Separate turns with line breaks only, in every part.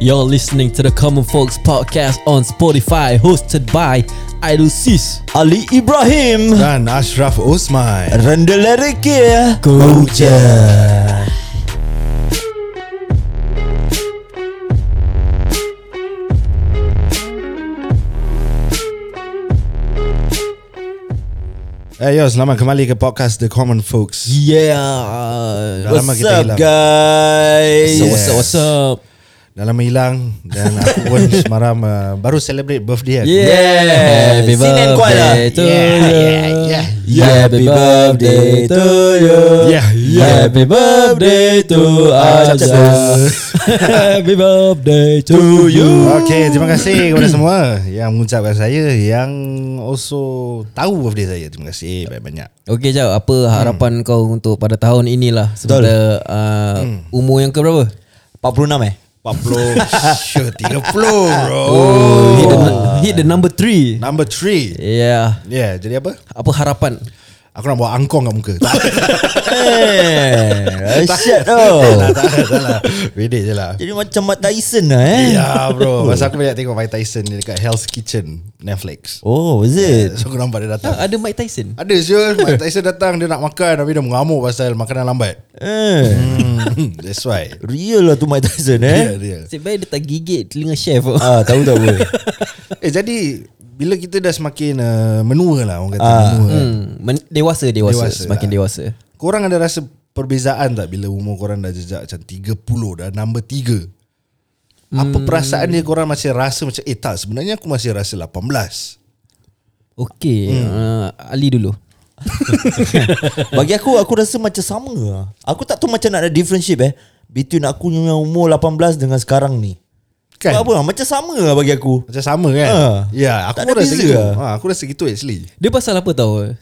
You're listening to the Common Folks podcast on Spotify, hosted by Idol Sis.
Ali Ibrahim ya.
dan Ashraf Osman.
Rendah Rekia
Go
je
Eh yo, selamat kembali ke podcast The Common Folks.
Yeah.
Dah lama
What's
kita
up
hilang.
guys
So what's up? What's up?
Dah lama hilang dan aku pun semalam uh, baru celebrate birthday aku.
Yeah. Happy
Sing and choir lah.
birthday to
Yeah,
you.
yeah, yeah.
Happy birthday to you.
Yeah, yeah.
Happy birthday to us. Happy birthday to you.
Okay, terima kasih kepada semua yang mengucapkan saya yang also tahu birthday saya. Terima kasih banyak-banyak.
Okey Jau, apa harapan kau untuk pada tahun inilah sebagai uh, umur yang ke berapa?
46 eh
40 Sure 30 bro
Hit the, hit the number three.
Number 3
Yeah.
Yeah, jadi apa?
Ya. Apa harapan?
Aku nak buat angkong kat muka Tak
Eh Asyad
tak
tau
lah, tak lah, tak lah Bedek je lah
Jadi macam Matt Tyson lah eh
Ya bro Masa aku banyak tengok Mike Tyson ni Dekat Hell's Kitchen Netflix
Oh is it
So aku nampak dia datang
Ada Mike Tyson.
Ada Syul Mike Tyson datang Dia nak makan Tapi dia mengamuk pasal Makanan lambat
Eh
Hmm, That's why
Real lah tu Matt Tyson eh
yeah, dia.
Sebab dia tak gigit telinga chef.
Ah tahu tak apa
Eh jadi Bila kita dah semakin uh, Menua lah Orang kata
Ah,
menua kan.
Hmm, men- dewasa, dewasa,
Dewasa
semakin
lah.
dewasa.
Korang ada rasa Perbezaan tak Bila umur korang dah jejak Macam 30 Dah number 3 Apa
Hmm.
perasaan dia korang masih rasa Macam eh tak Sebenarnya aku masih rasa 18
Okey, uh, Ali dulu.
Bagi aku Aku rasa macam sama lah Aku tak tahu macam nak ada differentiate eh Between aku punya umur 18 Dengan sekarang ni
Kan
Sebab apa lah Macam sama lah bagi aku
Macam sama kan
Ah.
Ya aku
Tak
pun
ada
rasa
beza
gitu
lah.
ha, Aku rasa gitu actually
Dia pasal apa tahu?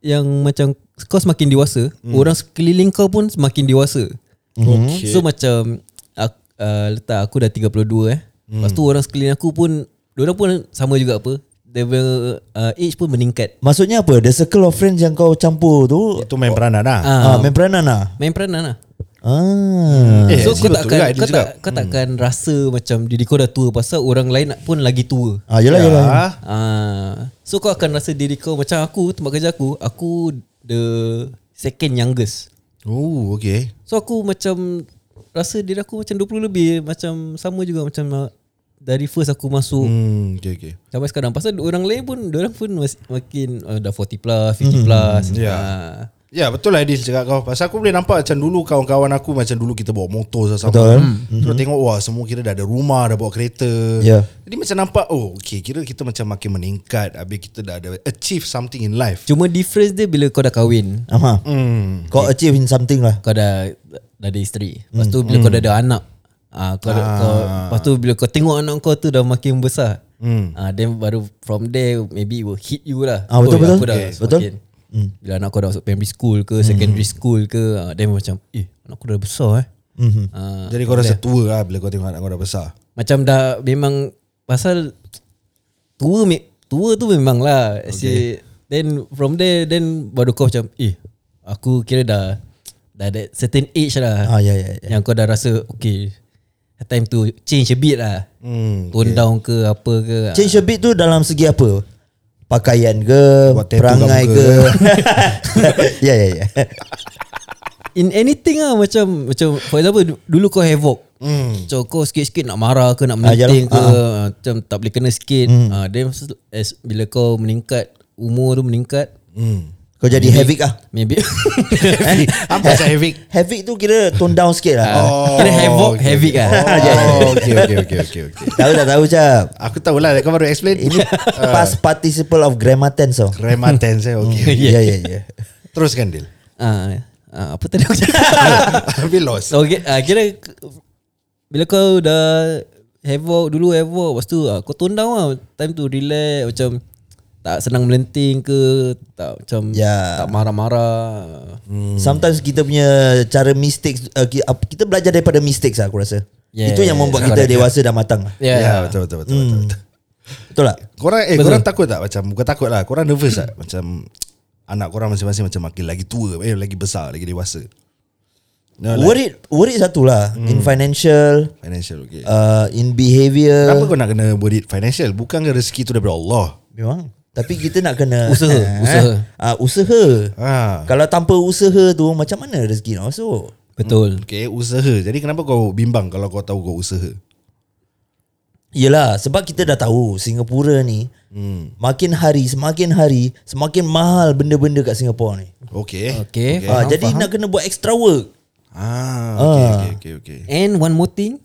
Yang macam kau semakin dewasa, orang sekeliling kau pun semakin dewasa. Okay. So macam aku, uh, letak aku dah 32 eh. Lepas tu orang sekeliling aku pun Diorang pun sama juga apa Level uh, age pun meningkat
Maksudnya apa The circle of friends Yang kau campur tu
Itu main peranan lah
Ah.
Ah, main peranan lah
Main peranan lah
Ah.
Eh,
So kau
juga tu juga,
takkan
dia Hmm.
kau,
juga.
tak, kau takkan rasa macam diri kau dah tua Pasal orang lain pun lagi tua
Ah, yelah, yelah.
Ah,
Ah, so kau akan rasa diri kau macam aku tempat kerja aku, aku the second youngest.
Oh okay
So aku macam rasa diri aku macam 20 lebih, macam sama juga macam ah, dari first aku masuk hmm.
Hmm okay okay
sampai sekarang. Pasal orang lain pun orang pun mas, makin uh, dah 40 plus, 50 plus.
Ya.
Ah.
Ya betul lah Adil cakap kau Pasal aku boleh nampak Macam dulu kawan-kawan aku Macam dulu kita bawa motor sama-sama
Betul.
Terus tengok Wah semua kira dah ada rumah Dah bawa kereta
Ya.
Jadi macam nampak Oh okay Kira kita macam makin meningkat Habis kita dah ada Achieve something in life
Cuma difference dia bila kau dah kahwin,
Aha.
Hmm
Kau achieve in something lah.
kau dah dah ada isteri. Lepas
Hmm.
tu bila kau dah ada anak, ah kau, ah. kau lepas tu bila kau tengok anak kau tu dah makin besar.
Hmm
Ah, then baru from there maybe it will hit you lah.
Ah, betul,
Oi,
betul. Hmm.
Aku dah
Okay.
semakin, Bila anak kau dah masuk primary school ke secondary school ke, ah, then macam eh anak aku dah besar eh.
Mm-hmm.
Ah,
Jadi kau rasa tua lah Bila kau tengok anak kau dah besar
macam dah memang pasal tua me, tua tu memang lah. Okay. Then from there then baru kau macam eh aku kira dah dah ada certain age lah.
Ah ya ya. ya.
Yang kau dah rasa okay time to change a bit lah.
Hmm
Tone down ke apa ke. Ah.
Change a bit tu dalam segi apa? Pakaian ke,
Buat tattoo
perangai
kat
ke.
muka.
ya ya ya.
In anything lah Macam Macam For example du- Dulu kau havoc mm. So kau sikit-sikit Nak marah ke Nak
Hmm. Ah, Hmm.
meninting ke
jalan.
ah, Macam tak boleh kena sikit mm. ah, Then se- as, Bila kau meningkat Umur tu meningkat
Hmm
Kau jadi havoc ah.
Maybe
Eh?
Apa pasal havoc?
Havoc tu kira tone down sikit lah. Oh.
Kira havoc Havoc lah
Oh okay okay okay okay, okay.
Tahu tak tahu cap.
Aku tahulah Kau baru explain
Ini past participle of grammar tense tau.
Rematan tense eh, okay.
Ya ya ya.
Teruskan Dil
ah, ah, Apa tadi aku cakap
Habis lost
So okay, uh, kira k- bila kau dah havoc dulu havoc lepas tu uh, kau tone down lah time tu relax macam tak senang melenting ke tak macam
Ya. Hmm.
tak marah-marah
Sometimes kita punya cara mistakes uh, ki- ap- kita belajar daripada mistakes lah aku rasa.
Yeah,
Itu yang
yeah,
membuat
yeah.
kita dewasa dan matang. lah.
ya yeah.
Ya betul betul betul, betul, betul.
Betul tak?
Korang eh korang takut tak macam bukan takut lah korang nervous tak macam anak korang masing-masing macam makin lagi tua eh lagi besar lagi dewasa. No, like-
worried worried satulah in
Hmm.
financial
Financial okay
uh, in behaviour
Kenapa kau nak kena worried financial Bukan rezeki tu daripada Allah
Memang Tapi kita nak kena
Usaha,
eh,
usaha.
ah, Usaha
ha.
Kalau tanpa usaha tu Macam mana rezeki nak masuk
Betul
Okay usaha Jadi kenapa kau bimbang Kalau kau tahu kau usaha
Yelah Sebab kita dah tahu Singapura ni hmm. Makin hari Semakin hari Semakin mahal Benda-benda kat Singapura ni
Okay
Okay,
okay, ah,
faham,
Jadi
faham.
nak kena buat extra work
Ah, okay, okay, okay, okay.
And one more thing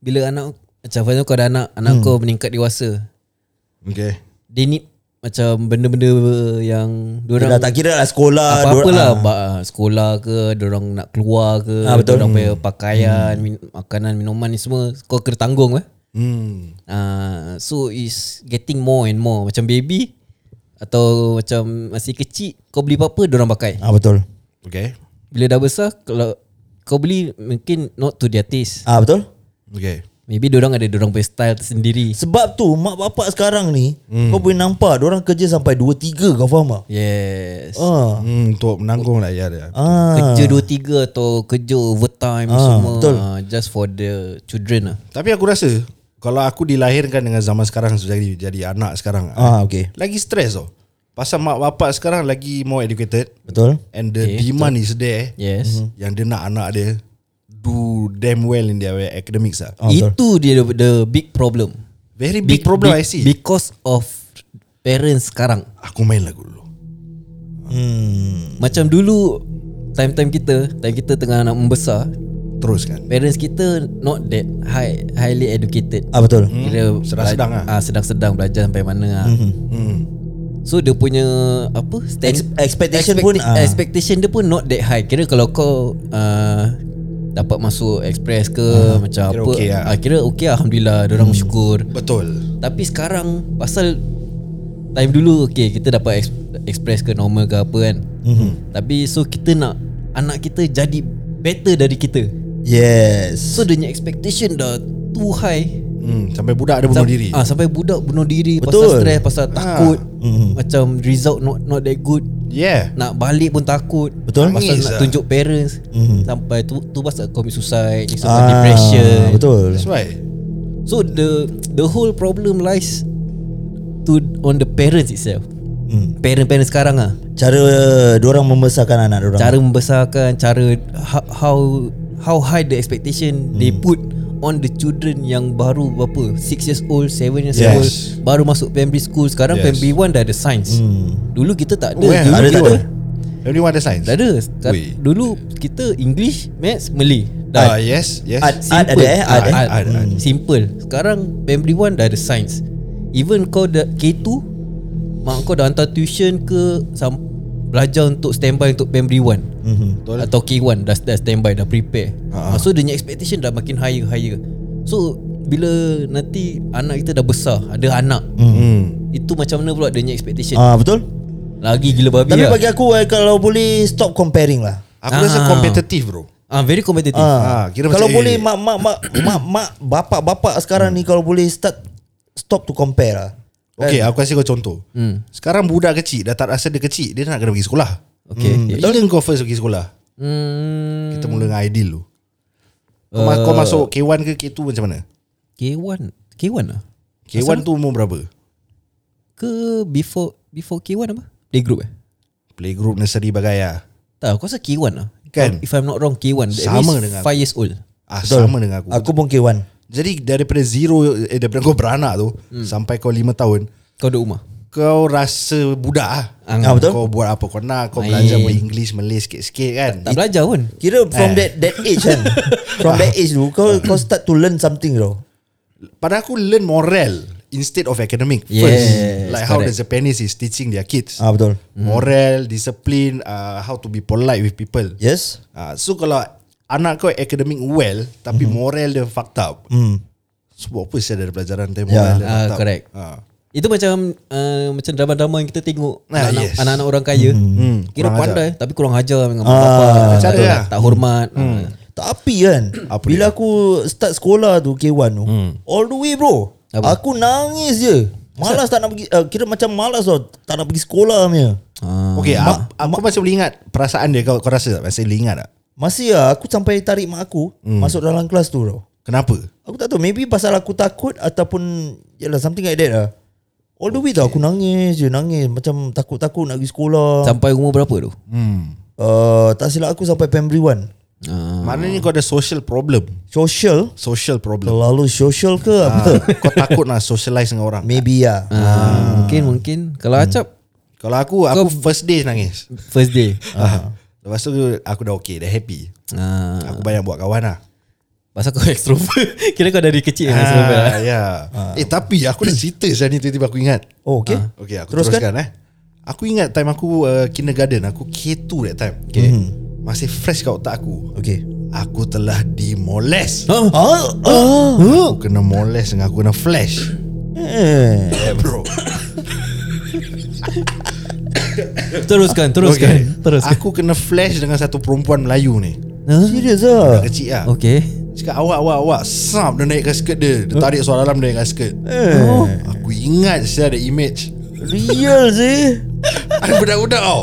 Bila anak Macam Fazal kau ada anak Anak hmm. kau meningkat dewasa
Okay.
They need Macam benda-benda Yang
Dia
Diorang
dah tak kira lah sekolah
apa-apa
dorang-
lah ba- Sekolah ke Diorang nak keluar ke
Ah, betul.
Diorang punya pakaian min- Makanan, minuman ni semua Kau kena tanggung eh
Hmm.
uh, So is getting more and more Macam baby Atau macam masih kecil Kau beli apa-apa Diorang pakai
ah. ah, Betul
Okay.
Bila dah besar Kalau kau beli Mungkin not to their taste
ah, Betul
Okay.
Maybe diorang ada Diorang punya style sendiri
Sebab tu Mak bapak sekarang ni hmm. Kau boleh nampak Diorang kerja sampai 2-3 Kau faham tak
Yes
ah.
Hmm, untuk menanggung lah ya dia.
ah.
Kerja dua tiga Atau kerja overtime
Ah,
Semua
betul.
ah, Just for the children lah
Tapi aku rasa kalau aku dilahirkan dengan zaman sekarang jadi jadi anak sekarang,
Ah,
ah.
okay
lagi stres tau. Pasal mak bapak sekarang lagi more educated
Betul
and the okay, demand betul. is there. Hmm.
Yes mm-hmm.
Yang dia nak anak dia do damn well in their academics ah.
Oh.
Ah, betul.
Itu dia the, the big problem
Very big, big problem I see. Big.
Because of Parents sekarang
Aku main lagu dulu.
Hmm.
Macam dulu Time-time kita Time kita tengah nak membesar
Teruskan.
Parents kita Not that high Highly educated
Ah betul.
Kira
Hmm, sedang-sedang
bela-
ah.
ah, Sedang-sedang belajar sampai mana ah.
Hmm.
So dia punya Apa stand,
Ex- expectation pun, ah.
Expectation dia pun Not that high Kira kalau kau uh, Dapat masuk Express ke uh, Macam
Kira
apa
okey lah.
ah, Kira okay Alhamdulillah Diorang hmm. syukur
Betul.
Tapi sekarang Pasal Time dulu Okay kita dapat ex- Express ke normal ke apa kan mm-hmm. Tapi so kita nak Anak kita jadi Better dari kita
Yes.
So dia punya expectation dah Too high
Hmm, sampai budak dia bunuh
Sam-
diri.
ah, Sampai budak bunuh diri Pasal
Betul.
stress Pasal takut mm-hmm. Macam result not not that good
Yeah.
Nak balik pun takut
Betul.
Pasal
Nangis
nak
lah.
tunjuk parents
Mhm.
Sampai tu, tu pasal commit suicide ni Sampai depression
Ah, Betul.
That's why.
So the the whole problem lies to on the parents itself.
Hmm.
Parent-parent sekarang ah,
Cara orang membesarkan anak orang.
cara membesarkan, cara ho- how how high the expectation
Hmm.
they put on the children yang baru berapa 6 years old, 7 years
Yes.
old baru masuk primary school. Sekarang
Yes.
primary 1 dah ada science.
Hmm.
Dulu kita tak ada.
Oh, yeah.
Dulu
Ada
kita,
tak ada?
Everyone ada science.
Tak ada. Sekarang-
Weh.
Dulu kita English, Maths, Malay. Dah
Ah, yes, yes.
Art.
Simple.
ada eh, art eh?
Art,
Art, art.
Hmm. Simple. Sekarang primary 1 dah ada science. Even kau dah K2, mak kau dah hantar tuition ke sam- belajar untuk standby untuk primary 1
Mhm.
Betul.
atau K1 dah dah standby dah prepare. Ha. So dia punya expectation dah makin higher higher. So bila nanti anak kita dah besar, ada anak.
Hmm.
Itu macam mana pula dia punya expectation?
Ah betul.
Lagi gila babi
Tapi
lah.
bagi aku eh, kalau boleh stop comparing lah.
Aku rasa
Ah.
kompetitif bro.
Ah very competitive.
Ah,
Ah, kira
kalau
macam,
boleh
eh.
mak mak mak mak mak bapak-bapak sekarang ni kalau boleh start stop to compare lah.
Okay, aku kasih kau contoh. Hmm. Sekarang budak kecil dah tak rasa dia kecil, dia nak kena pergi sekolah.
Okay.
Hmm.
Yeah.
Bila kau first pergi sekolah?
Hmm.
Kita mula dengan ideal tu. Kau, uh, kau masuk K1 ke K2 macam mana?
K1 K1 lah
K1 tu umur berapa?
Ke before Before K1 apa Playgroup eh
Playgroup nursery bagai lah.
Tak aku rasa K1 lah
Kan?
If I'm not wrong K1 That
Sama
means
dengan
5 years old
Ah, sama dengan aku. aku.
Aku pun K1.
Jadi daripada zero, eh, daripada kau beranak tu, hmm. sampai kau lima tahun,
Kau duduk rumah
kau rasa budak lah.
Ah,
Ah, betul.
Kau buat apa kau nak, kau
Main.
belajar boleh English, Malay sikit-sikit kan.
Tak belajar pun
Kira from that that age kan. from that age tu kau kau start to learn something tau.
Pada aku learn moral instead of academic
Yes,
first. Like how the
correct. Mm.
Japanese is teaching their kids.
Ah betul.
Moral, discipline, uh, how to be polite with people.
Yes.
Uh, so kalau anak kau academic well tapi mm-hmm. moral dia fucked up.
Hmm.
So buat apa saya dari pelajaran dia
Ya.
moral dia
Mm. Ah,
fucked up.
correct.
Ah.
Itu macam uh, Macam drama-drama yang kita tengok
Ah,
anak-anak,
yes.
anak-anak orang kaya
Hmm,
Kira
kurang
pandai Tapi kurang ajar dengan mak
Ah,
bapak.
macam
Tak-
lah.
Tak hormat Ah.
Tapi kan Apa Bila dia? aku start sekolah tu K1 tu hmm. All the way bro
Apa?
Aku nangis je Malas tak nak pergi uh, Kira macam malas tau Tak nak pergi sekolah punya
Ah.
Okay, aku, aku masih boleh ingat perasaan dia kau kau rasa tak? Masih boleh ingat tak?
Masih lah Aku sampai tarik mak aku hmm. Masuk dalam kelas tu tau
Kenapa?
Aku tak tahu Maybe pasal aku takut Ataupun Yalah something like that lah All the way tau Aku nangis je Nangis Macam takut-takut Nak pergi
ah.
sekolah
Sampai umur berapa tu?
Hmm.
uh, Tak silap aku sampai primary 1
Ah.
Maknanya kau ada social problem.
Social
Social problem.
Terlalu social ke apa
Ah, kau takut nak socialize dengan orang.
Maybe lah
Ah, Mungkin mungkin Kalau
Hmm.
acap
Kalau aku aku first day nangis.
First day
Ah. Lepas tu aku dah okay, dah happy.
ah.
Aku banyak buat kawan lah.
Pasal kau extrovert Kira kau dari kecil ah. extrovert
Ah, ya. Eh tapi aku dah cerita saya ni tiba-tiba aku ingat.
Oh okay
Okay aku
Teruskan.
teruskan, eh. Aku ingat time aku uh, kindergarten, aku K2 that time. Okay. Mm-hmm. Masih fresh kat otak aku.
Okay
Aku telah dimoles.
Huh?
ah, ah.
Aku kena moles dengan aku kena flash.
Eh.
Eh bro.
Teruskan Teruskan
Okay.
okay. Teruskan
Aku kena flash dengan satu perempuan Melayu ni.
huh?
Serius lah
Kecil ah.
Okay
Cakap awak awak awak Sam dia naikkan skirt dia Dia tarik suara dalam dia naikkan skirt
eh.
Aku ingat saya ada image
Real sih
Ada budak-budak tau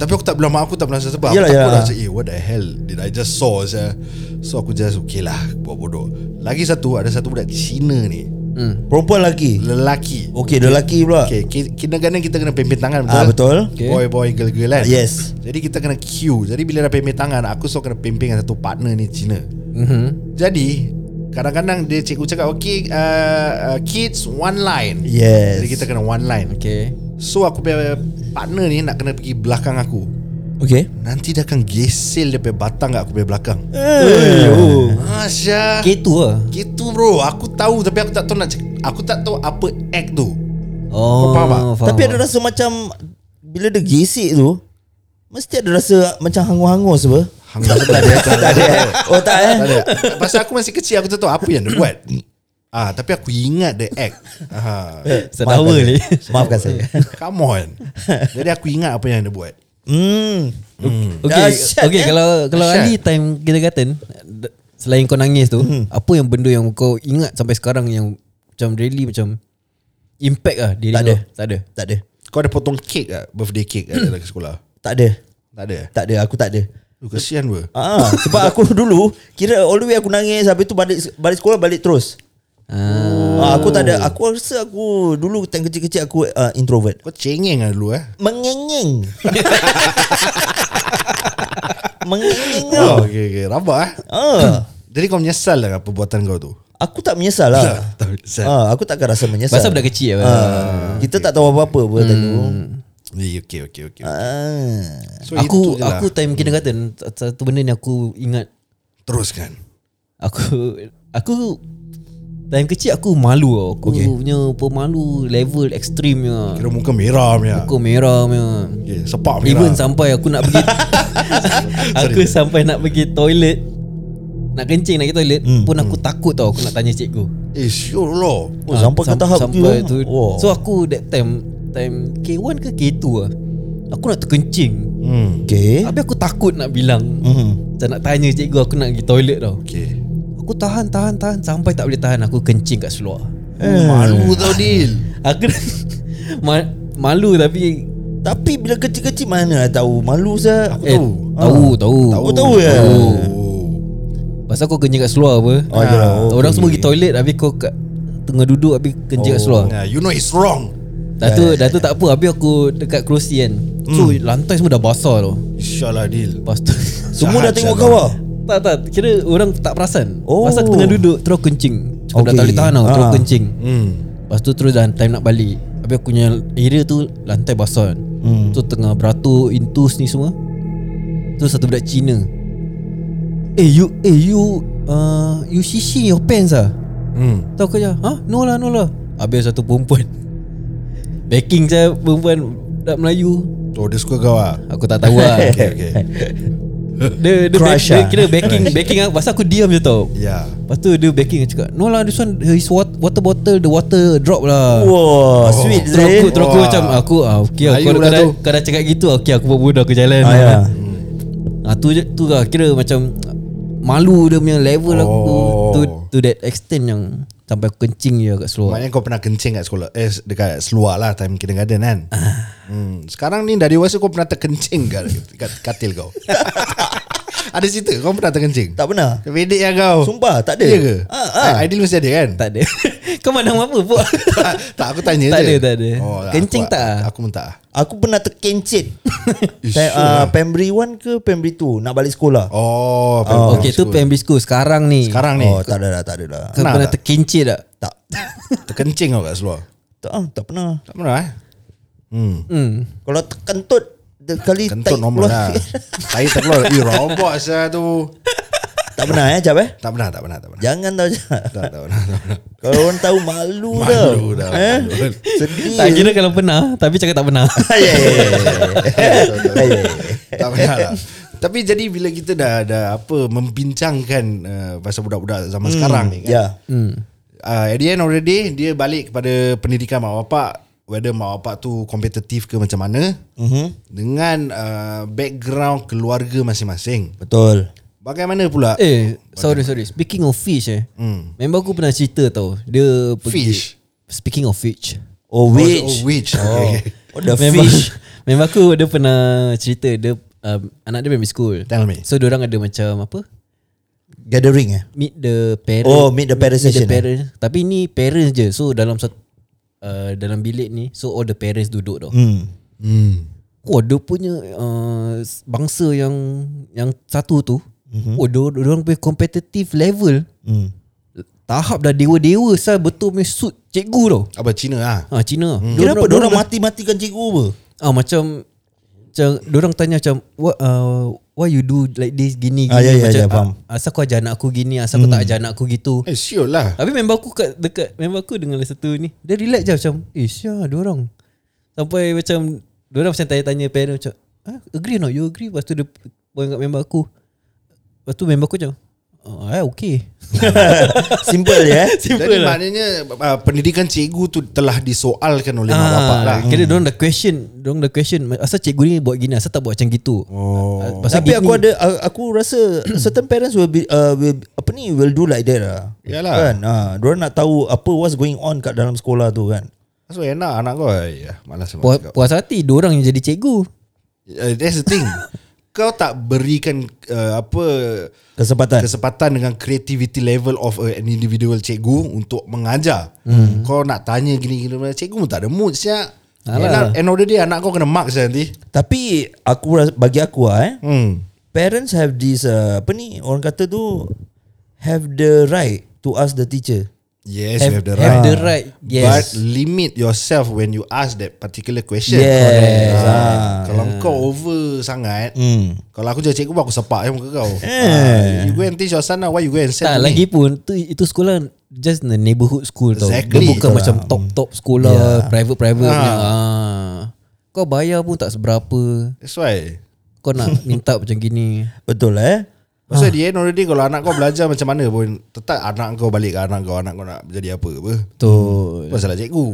Tapi aku tak bilang mak aku Tak bilang sebab
Yalah,
Aku takut
yalah.
lah macam Eh what the hell Did I just saw saya So aku just okay lah Buat bodoh Lagi satu Ada satu budak Cina ni
hmm.
Perempuan lelaki
Lelaki
Okay dia lelaki pula
Okay ki- Kindergarten kita kena pimpin tangan betul?
Ah Betul
Okay.
Boy boy girl girl kan
Yes.
Jadi kita kena queue Jadi bila dah pimpin tangan Aku selalu kena pimpin dengan satu partner ni Cina
mm-hmm.
mhm, Jadi Kadang-kadang dia cikgu cakap Okay uh, uh, Kids one line
Yes Eh.
Jadi kita kena one line
Okay
So aku punya partner ni Nak kena pergi belakang aku
Okay
Nanti dia akan gesel Dia punya batang kat aku punya belakang
Eh, oh.
Asya
K2 lah
Gitu bro Aku tahu Tapi aku tak tahu nak cak- Aku tak tahu apa act tu
Oh
Kau faham tak?
Tapi ada rasa macam Bila dia gesek tu Mesti ada rasa Macam hangus-hangus apa
Hangus tak ada Tak ada
Oh tak eh
Tak ada Pasal aku masih kecil Aku tak tahu apa yang dia buat Ah, tapi aku ingat the act. Ah,
Sedawa ni
Maafkan saya
come on. Jadi aku ingat apa yang dia buat.
Hmm
Okay,
Dahsyat,
okay
eh?
kalau kalau
Dahsyat.
Ali time kindergarten d- selain kau nangis tu, apa yang benda yang kau ingat sampai sekarang yang macam really macam impact ah diri
Tak
kau?
ada.
Tak ada.
Tak ada
Kau ada potong kek tak? Birthday cake kat dalam sekolah?
Tak ada
Tak ada? eh?
Tak ada aku tak ada
Lu kesian pun.
Ah, sebab aku dulu kira all the way aku nangis habis tu balik balik sekolah balik terus.
Ah,
Ah, aku tak ada aku rasa aku dulu time kecil-kecil aku uh, introvert.
Kau cengeng lah dulu eh.
Mengengeng. Mengengeng. tau.
Oh, okay, okay. Rabak eh.
Ah,
Jadi kau menyesal lah dengan perbuatan kau tu?
aku tak menyesal lah.
Tak menyesal.
Ah, aku takkan rasa menyesal.
Pasal budak kecil lah.
Ah, kita tak tahu apa-apa pun hmm. dulu.
Eh, Okay, okay, okay.
Ah.
So,
aku
itu je lah.
aku time kindergarten sa- satu benda ni aku ingat
Teruskan.
aku aku time kecil aku malu tau. Aku okay. punya pemalu level lah. ekstrim punya.
Kira muka merah punya.
Aku merah punya.
Okay, sepak merah.
Even sampai aku nak pergi Aku sampai nak pergi toilet Nak kencing nak pergi toilet hmm. Pun aku takut tau Aku nak tanya cikgu
Eh, sure lah.
Oh, sampai ke
Ah, sam-
tahap tu,
sampai
eh?
tu,
Wow.
So aku that time Time K1 ke K2 lah Aku nak terkencing
Hmm.
Okay.
Tapi aku takut nak bilang
Eh? Hmm.
Macam nak tanya cikgu Aku nak pergi toilet tau
Okay.
Aku tahan tahan tahan Sampai tak boleh tahan Aku kencing kat seluar Oh,
Eh. Malu tau Dil.
Aku ma- Malu tapi
Tapi bila kecil-kecil mana lah tahu malu saya.
Aku
Eh
tahu.
tahu tahu
Tahu tahu ya.
Oh.
Pasal kau kencing kat seluar apa
Oh, yelah.
Ah, Orang semua pergi toilet Habis kau kat Tengah duduk Habis kencing
Oh,
kat seluar
Yeah, you know it's wrong.
Dah tu, dah tu tak apa Habis aku dekat kerusi kan
Hmm.
So lantai semua dah basah tau
Insya-Allah Dil.
Lepas tu
Semua dah
Jahat,
tengok
jahat.
kau ah.
Tak tak Kira orang tak perasan
Oh.
Masa aku tengah duduk Terus kencing Aku dah
Okay.
tak boleh tahan tau Terus
Ah.
kencing
Hmm.
Lepas tu terus dah time nak balik Habis aku punya area tu Lantai basah kan
Hmm.
So tengah beratur Intus ni semua Terus satu budak Cina Eh you Eh you uh, You shishing your pants ah
Hmm.
Tahu kau je Ha? No lah no lah Habis satu perempuan Backing saya perempuan Budak Melayu
Oh, dia suka kau ah.
Aku tak tahu lah
Okay, okay.
Dia, dia, back,
Crush
dia
ah.
kira backing Backing aku Pasal aku diam je tau
Ya.
Lepas tu dia backing Dia cakap No lah this one His wat- water bottle The water drop lah
Wah, sweet
Terus aku,
Zul.
terus aku
Wah.
macam Aku ah, okay, lah,
Melayu
kau, kau,
lah
dah,
tu.
kau dah cakap gitu Okay aku buat bodoh Aku jalan
Ah, ya.
ah, tu, je- tu lah Kira macam Malu dia punya level oh. aku
Oh.
to, to that extent yang Sampai aku kencing je kat seluar
Maknanya kau pernah kencing kat sekolah Eh dekat seluar lah Time kindergarten kan hmm. Sekarang ni dah dewasa Kau pernah terkencing kat, kat katil kau Ada cerita Kau pernah terkencing
Tak pernah
Pedek ya kau
Sumpah, tak ada.
Ada ke
Ah, ah.
Ideal mesti ada kan
Tak ada Kau pandang apa pun
Tak, tak aku tanya
Tak
je
ada,
Oh,
tak ada.
aku-
Kencing tak? ah?
Aku pun tak
Aku pernah terkencit
Eh,
Time,
sure
uh,
lah.
Pembri 1 ke Pembri 2 Nak balik sekolah
Oh,
oh, Okay tu primary school Sekarang ni
Sekarang ni
Oh tak ada dah Tak ada dah
Kau
Kenal
pernah
tak?
terkincit tak?
Tak
Terkencing kau kat seluar
Tak, ah, tak pernah
Tak pernah eh Hmm
Hmm.
Kalau terkentut Kali
Kentut normal lah Tai terkeluar Eh robot saya tu
Tak pernah eh Jap eh
Tak pernah Tak pernah Tak pernah
Jangan tau Jap
Tak tak pernah, tak pernah.
Kalau orang tahu malu,
Malu
dah.
dah,
Eh?
malu.
Sedih.
Tak kira kalau pernah Tapi cakap tak pernah
Ya, ya, ya,
Eh,
ya, ya.
Tak pernah lah Tapi jadi bila kita dah dah apa membincangkan uh, pasal budak-budak
Hmm,
zaman sekarang ni kan.
Ya.
Uh, at the end of the day dia balik kepada pendidikan mak bapak whether mak bapak tu kompetitif ke macam mana
Mhm.
dengan uh, background keluarga masing-masing.
Betul.
Bagaimana pula?
Eh sorry sorry Speaking of fish eh
Hmm.
Member aku pernah cerita tau Dia pergi
Fish.
Speaking of fish
Oh, which?
Which? Oh, which?
Oh,
Okay.
oh the
member,
fish.
Member aku dia pernah cerita Dia um, Anak dia primary school
Tell me.
So orang ada macam apa
Gathering eh?
Meet the parent
Oh, meet the parent
Meet the
session, eh?
parent Tapi ni parents je So dalam satu uh, Dalam bilik ni So all the parents duduk tau
Hmm.
Hmm.
Wah Oh, dia punya uh, Bangsa yang Yang satu tu mm-hmm. Wah dia, dia orang punya competitive level
Mhm. Hmm.
Tahap dah dewa-dewa Sal betul punya suit Cikgu tau
Apa Cina ah?
Ha Cina hmm.
Kenapa orang mati-matikan cikgu apa?
Ah macam macam orang tanya macam what uh, why you do like this gini gini
Ah, ya, ya,
macam
ya, faham. Hmm.
"Ah, asal kau ajar anak aku gini asal kau tak ajar anak aku gitu.
Eh, sure lah.
Tapi member aku kat dekat member aku dengan satu ni dia relax je macam eh sia dia orang. Sampai macam dia orang macam tanya-tanya parent macam ah, agree or not you agree lepas tu dia point kat member aku. Lepas tu member aku macam oh, eh okay.
Simple je eh?
Jadi
lah.
maknanya uh, pendidikan cikgu tu telah disoalkan oleh mak bapak lah.
Ah, kira dia orang dah question, dia orang dah question asal cikgu ni buat gini, asal tak buat macam gitu.
Oh.
Ah, pasal
Tapi
gini-
aku ada a- aku rasa certain parents will be uh, will, apa ni will do like that lah.
Yalah.
Kan? Ha, diorang nak tahu apa what's going on kat dalam sekolah tu kan.
So enak anak kau. Ya, malas
Puas,
sama kau.
puas hati dia orang yang jadi cikgu.
Uh, that's the thing. kau tak berikan uh, apa
Kesempatan.
kesempatan dengan creativity level of a- an individual cikgu untuk mengajar. Hmm. Kau nak tanya gini-gini cikgu pun tak ada mood siap.
Alah.
Alah. End of the day anak kau kena marks lah nanti.
Tapi aku ras- bagi aku ah eh
Hmm.
parents have this uh, apa ni orang kata tu have the right to ask the teacher.
Yes, have, you have the right.
Have the right. Yes.
But limit yourself when you ask that particular question.
Yes.
Correct.
Ah.
Ah. Kalau kau over sangat,
Hmm.
kalau aku jadi cikgu pun aku sepak eh muka kau. Ah, you go and teach your son now, why you go and send
tak
to
lagi
me?
pun tu itu sekolah just the neighborhood school tau.
Exactly.
Dia bukan
Betul
macam top-top sekolah private-private punya. Ah. Kau bayar pun tak seberapa.
That's why.
Kau nak minta macam gini.
Betul lah eh.
Ah.
Pasal dia end of the day kalau anak kau belajar macam mana pun tetap anak kau balik ke anak kau anak kau nak jadi apa apa.
Betul.
Bukan salah cikgu.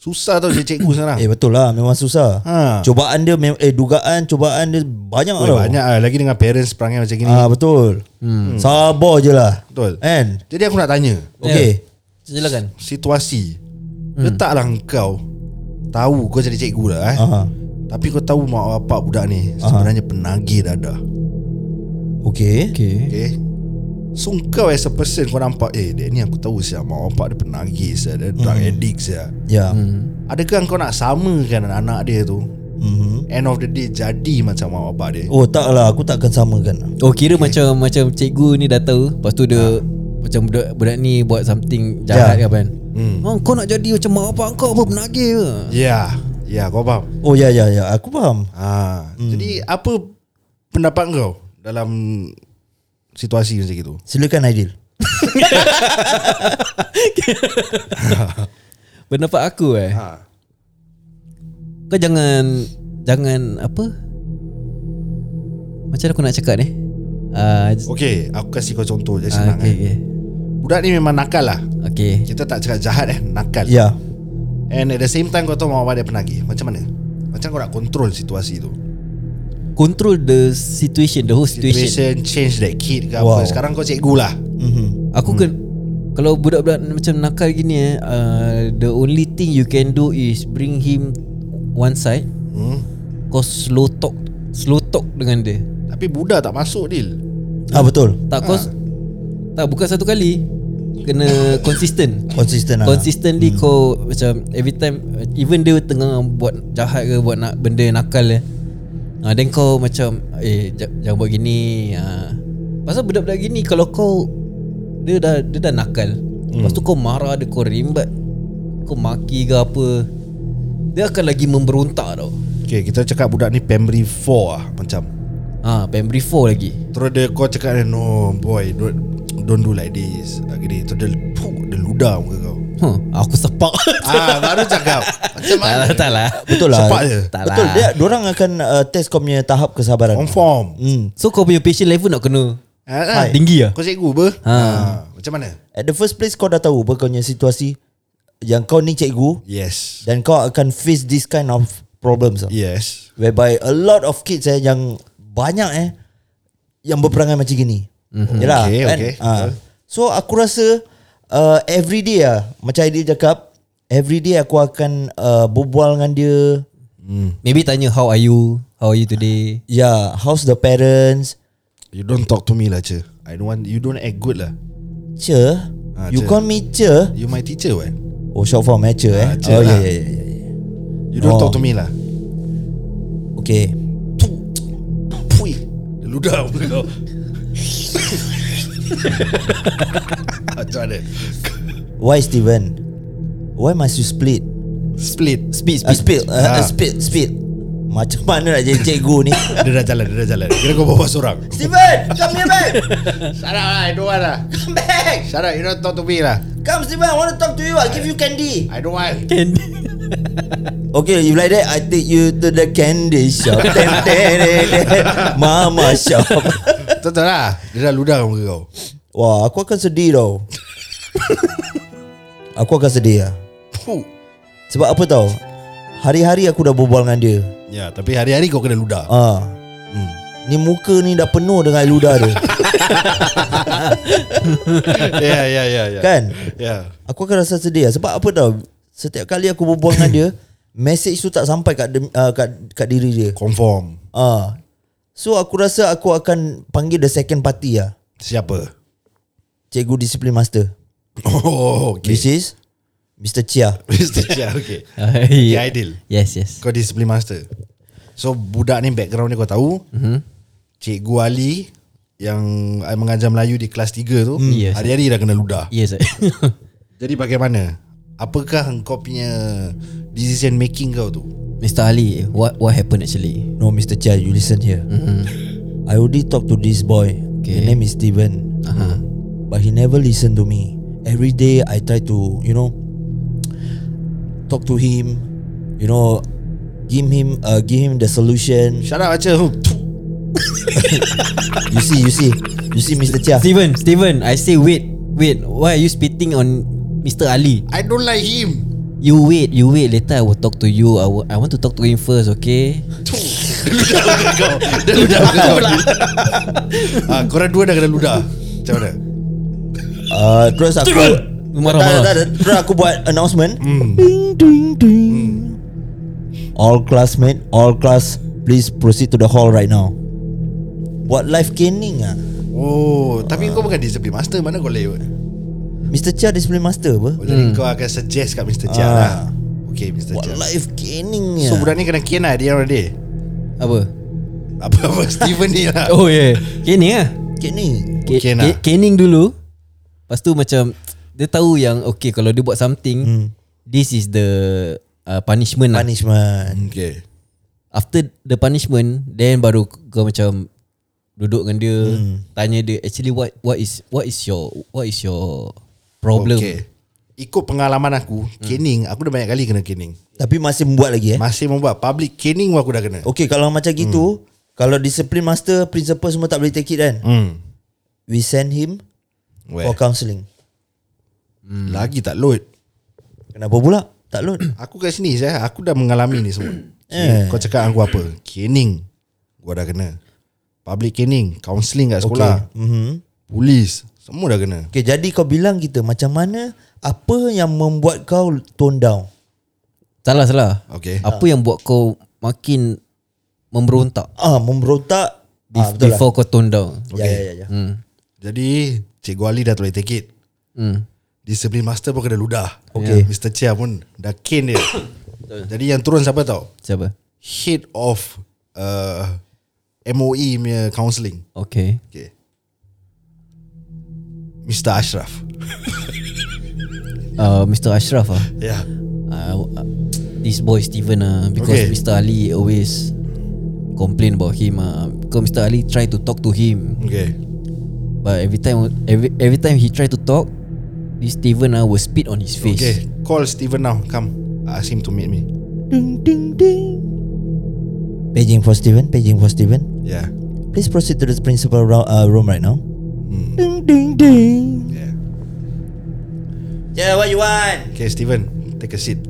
Susah tau jadi cikgu sekarang.
Eh betul lah memang susah.
Ah. Ha.
Cubaan dia mem- eh dugaan cubaan dia banyak
Oi,
tau.
banyak lah. lagi dengan parents perangai macam gini.
Ah betul. Sabar je lah.
Betul. Ya.
And
Jadi aku nak tanya.
Hmm.
okay.
Silakan.
situasi hmm. letaklah engkau tahu kau jadi cikgu lah eh.
Aha.
Tapi kau tahu mak bapak budak ni
Ah.
sebenarnya penagih dadah.
Okay.
Okay.
Okay. So kau as a person kau nampak eh dia ni aku tahu siap mak bapak dia penagih siap dia drug
Hmm.
addict siap.
Ya.
Hmm.
Yeah.
Adakah kau nak samakan anak dia tu? Mm-hmm. End of the day jadi macam mak bapak dia.
Mhm. Oh tak lah aku takkan samakan.
Oh kira macam macam cikgu ni dah tahu, lepas tu dia macam budak budak ni buat something jahat
Ya.
yeah. kan. Hmm. Oh, kau nak jadi macam mak bapak kau apa menagih ke?
Ya, yeah. ya yeah, kau faham.
Oh ya ya ya aku faham.
Ha. Mm. Jadi apa pendapat kau dalam situasi macam itu?
Silakan Aidil.
Pendapat aku eh.
Ha.
Kau jangan Jangan apa Macam mana aku nak cakap ni uh,
Okay, aku kasih kau contoh je Oh, senang.
okay,
Okay.
okay.
Eh. Budak ni memang nakal lah.
okay
Kita tak cakap jahat eh, nakal.
Ya.
And at the same time kau tahu mak bapak dia penagih. Macam mana? Macam kau nak control situasi tu.
Control the situation The whole situation, situation.
Situation change that kid ke
Wow.
apa. Sekarang kau cikgu lah.
Mhm.
Aku kan
Hmm.
Kalau budak-budak macam nakal gini eh uh, The only thing you can do is Bring him One side
Hmm.
Kau slow talk Slow talk dengan dia
Tapi budak tak masuk deal.
Ah betul.
Ha.
Tak kos Tak bukan satu kali Kena konsisten
Konsisten lah.
Consistently kau Macam every time Even dia tengah buat jahat ke Buat nak, benda nakal eh ha, Then kau macam Eh ja- jangan buat gini ha. Pasal budak-budak gini Kalau kau Dia dah dia dah nakal Lepas tu kau marah dia Kau rimbat Kau maki ke apa Dia akan lagi memberontak tau
Okay kita cakap budak ni Primary 4 lah Macam
Ah, ha, Primary 4 lagi
Terus dia kau cakap No boy Don't, don't do like this Ah, Gini Terus dia puk, Dia ludah muka kau
huh, Aku sepak
Ah baru cakap Macam
Tak lah tak lah
Betul lah.
Sepak je.
Tak
Betul.
lah.
Dia orang akan uh, test kau punya tahap kesabaran.
On form
Hmm.
So kau punya patient level nak kena
ah, ah.
Tinggi lah
Kau cikgu apa ha. Macam mana
At the first place kau dah tahu apa kau punya situasi yang kau ni cikgu
Yes
dan kau akan face this kind of problems. Yeah.
Yes
Whereby a lot of kids eh yang banyak eh yang berperangai macam gini. Mm-hmm. Yalah,
Mhm. Okay,
kan?
okay.
Ah. So aku rasa uh, every day lah macam dia cakap every day aku akan uh, berbual dengan dia
Maybe tanya how are you How are you today
Yeah, how's Ya, the parents?
You don't talk to me lah Cher I don't want You don't act good lah
Che,
Ah,
you
Che.
call me Che?
You my teacher what
Oh, short form eh, Che eh.
Ah, Che
oh, yeah,
lah.
yeah, yeah, yeah.
You don't
Oh.
oh. talk to me lah
Okay.
Pui Dia ludah muka kau Macam mana
Why Steven? Why must you split?
Split
Speed
Uh,
speed
split, uh,
Ah.
split, split. Macam mana nak jadi cikgu ni?
Dia dah jalan Dia dah jalan Kira kau bawa seorang
Steven, come here back.
Shut up lah I don't want lah
Come back.
Shut up you don't talk to me lah
Come Steven, I want to talk to you. I'll give you candy.
I don't want
Okay, if like that, I take you to the candy shop. Ten, ten, ten, ten. Mama shop.
Tonton lah Dia dah ludah muka kau
Wah, aku akan sedih tau. aku akan sedih lah.
Puh.
Sebab apa tau Hari-hari aku dah berbual dengan dia
Ya tapi hari-hari kau kena ludah
Ah, Ni muka ni dah penuh dengan air ludah dia
Ya ya ya ya
Kan
Ya
Aku akan rasa sedih lah. Sebab apa tau Setiap kali aku berbual dengan dia Message tu tak sampai kat, dem- ah, kat, kat diri dia
Confirm
Ah, So aku rasa aku akan Panggil the second party lah
Siapa
Cikgu Disiplin Master
Oh
okay.
okay
Which is Mr. Chia
Mr. Chia okay Okay
yeah.
ideal
Yes yes
Kau disiplin master So budak ni background dia kau tahu mm-hmm.
Mhm.
Cikgu Ali Yang I mengajar Melayu di kelas 3 tu
Hmm. Yes.
Hari-hari dah kena ludah
Yes
Jadi bagaimana Apakah kau punya Decision making kau tu
Mr. Ali What what happened actually
No Mr. Chia you listen here mm-hmm. I already talked to this boy okay.
Okay.
His name is Steven uh-huh. But he never listened to me Every day I try to you know Talk to him You know Give him uh, give him the solution
Shut up Aceh
You see you see You see Mr. Chia
Steven Steven I say wait Wait Why are you spitting on Mr. Ali
I don't like him
You wait You wait Later I will talk to you I, will, I want to talk to him first okay
Ludah muka kau Dia ludah muka kau ah, Korang dua dah kena ludah Macam mana
uh, Terus aku
Marah,
Tak,
marah.
tak, tak. Terus aku buat announcement Ding ding ding All classmate All class Please proceed to the hall right now Buat live caning ah.
Oh Tapi kau bukan disiplin master Mana kau layu
Mr. Chia discipline master apa?
oh, Jadi kau akan suggest kat Mr. Chia
Ah.
lah Okay Mr.
What
Chia
life gaining ya.
So budak ni kena kian lah Dia orang dia
Apa
Apa-apa Steven ni lah
Oh yeah Kening lah
gaining.
Ke-
Ken
ke-
lah.
Kening dulu Lepas tu macam Dia tahu yang Okay kalau dia buat something This is the uh, Punishment lah
Punishment.
Okay
After the punishment Then baru kau macam Duduk dengan dia Tanya dia Actually what what is What is your What is your Problem okay.
Okay Ikut pengalaman aku Caning Aku dah banyak kali kena caning
Tapi masih membuat lagi eh. Oh.
Masih membuat public caning pun aku dah kena
Okey kalau macam
Hmm.
gitu, kalau discipline master, principal semua tak boleh take it kan.
Hmm
We send him
Where?
for counselling.
Lagi tak load
Kenapa pula? Tak load.
Aku kat sini saya Aku dah mengalami ni semua
Eh.
okay. Kau cakap dengan aku apa Caning Gua dah kena Public caning Counselling kat sekolah okay.
Mhm.
Polis Semua dah kena
Okey jadi kau bilang kita macam mana apa yang membuat kau tone down?
Salah salah
Okay
Apa yang buat kau Makin Memberontak
Ah memberontak
Be-
Ah, betul lah.
before kau tone down.
Ya ya ya, ya.
Hmm.
Jadi Cikgu Ali dah tak boleh take it
Hmm.
Disiplin master pun kena ludah
Okay.
Mr. Chia pun Dah cane dia Jadi yang turun siapa tau
Siapa?
Head of uh, MOE punya counselling
Okay.
okay. Mr. Ashraf
Uh, Mr. Ashraf ah.
Ya.
Yeah
Uh, uh, this boy Steven ah because
Okay.
Mr. Ali always complain about him ah. Because Mr. Ali try to talk to him,
Okay
but every time every every time he try to talk, this Steven ah will spit on his face.
Okay Call Steven now Come Ask him to meet me
Paging for Steven, paging for Steven.
Yeah
Please proceed to the principal ro- uh, room right now. Ding ding ding.
Yeah
Yeah, what you want?
Okay Steven Take a seat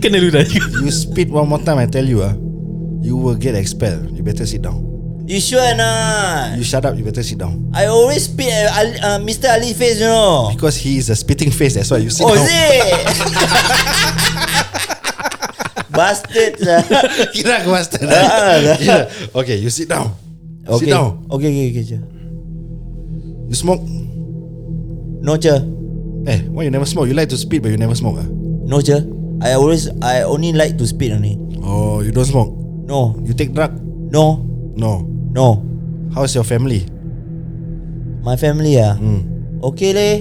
Kena ludah juga.
You spit one more time I tell you ah, You will get expelled You better sit down
You sure or not?
You shut up You better sit down
I always spit at Ali- uh, Mr. Ali face, you know.
Because he is a spitting face, that's why you sit
Oh, is
down.
it? Bastard lah.
Kira aku master.
Ah,
Kira. Okay, you sit down. Sit
Okay.
down.
Okay, okay, okay. Cher.
You smoke.
No, cher.
Eh, why you never smoke? You like to spit, but you never smoke. Ah?
No, cher. I always, I only like to spit only.
Oh, you don't smoke.
No,
You take drug?
no,
No.
no.
How's your family?
My family ah.
Hmm.
Okay leh.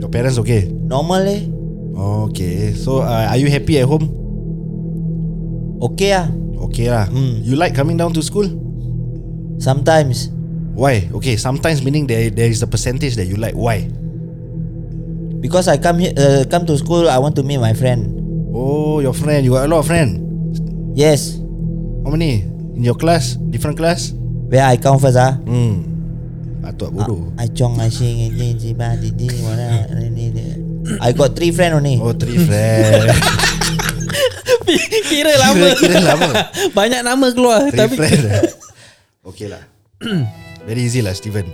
Your parents okay?
Normal leh.
Okay. So, uh, are you happy at home?
Okay ah.
Okay lah.
Hmm.
You like coming down to school?
Sometimes
Why? Okay. Sometimes meaning there there is a percentage that you like. Why?
because I come here, uh, come to school, I want to meet my friend.
Oh, your friend. You got a lot of friend.
Yes.
How many? In your class? Different class?
Where I come first ah.
Hmm. Atuk bodoh.
I chong I sing and then si ba di di wala ni ni. I got three friend only.
Oh, three friend.
Kira lama.
Kira- kira lama.
Banyak nama keluar
Three
tapi
friend Okay lah Very easy lah Steven